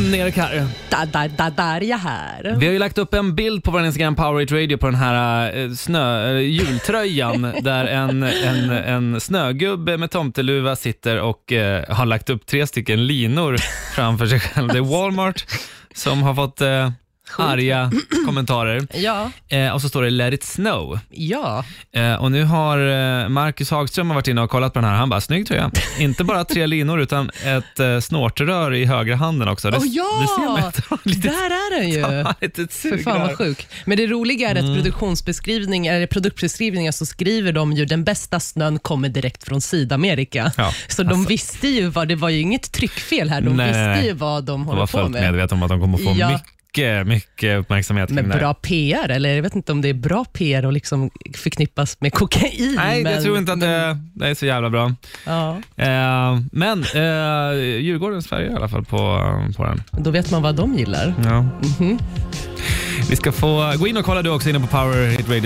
Nerkar. Da, da, da, där är jag här. Vi har ju lagt upp en bild på vår Instagram Powerade Radio på den här eh, snö, eh, jultröjan där en, en, en snögubbe med tomteluva sitter och eh, har lagt upp tre stycken linor framför sig själv. Det är Walmart som har fått eh, arga kommentarer. Ja, Eh, och så står det “Let it snow”. ja. Eh, och nu har eh, Marcus Hagström har varit inne och kollat på den här. Han bara, snygg tröja. Inte bara tre linor utan ett eh, snortrör i högra handen också. Det, Åh, ja! det ser man att han har lite, Där är den ju. har lite eh, För sug fan där. vad sjuk. Men det roliga är Mm. att produktionsbeskrivning, eller produktbeskrivningar så skriver de ju den bästa snön kommer direkt från Sydamerika. Ja, så de visste ju vad, det var ju inget tryckfel här, de Alltså. Nej, visste nej. ju vad de De håller var på fullt med. medvetna om att de kommer få Ja. mycket, mycket uppmärksamhet kring Men det här. bra PR, eller jag vet inte om det är bra PR att liksom förknippas med kokain. Nej, men, jag tror inte att det, det är så jävla bra. Ja, Eh, men eh, Djurgårdens färger i alla fall på, på den. då vet man vad de gillar. Ja. Vi ska få gå in och kolla du också inne på Power Hit Radio.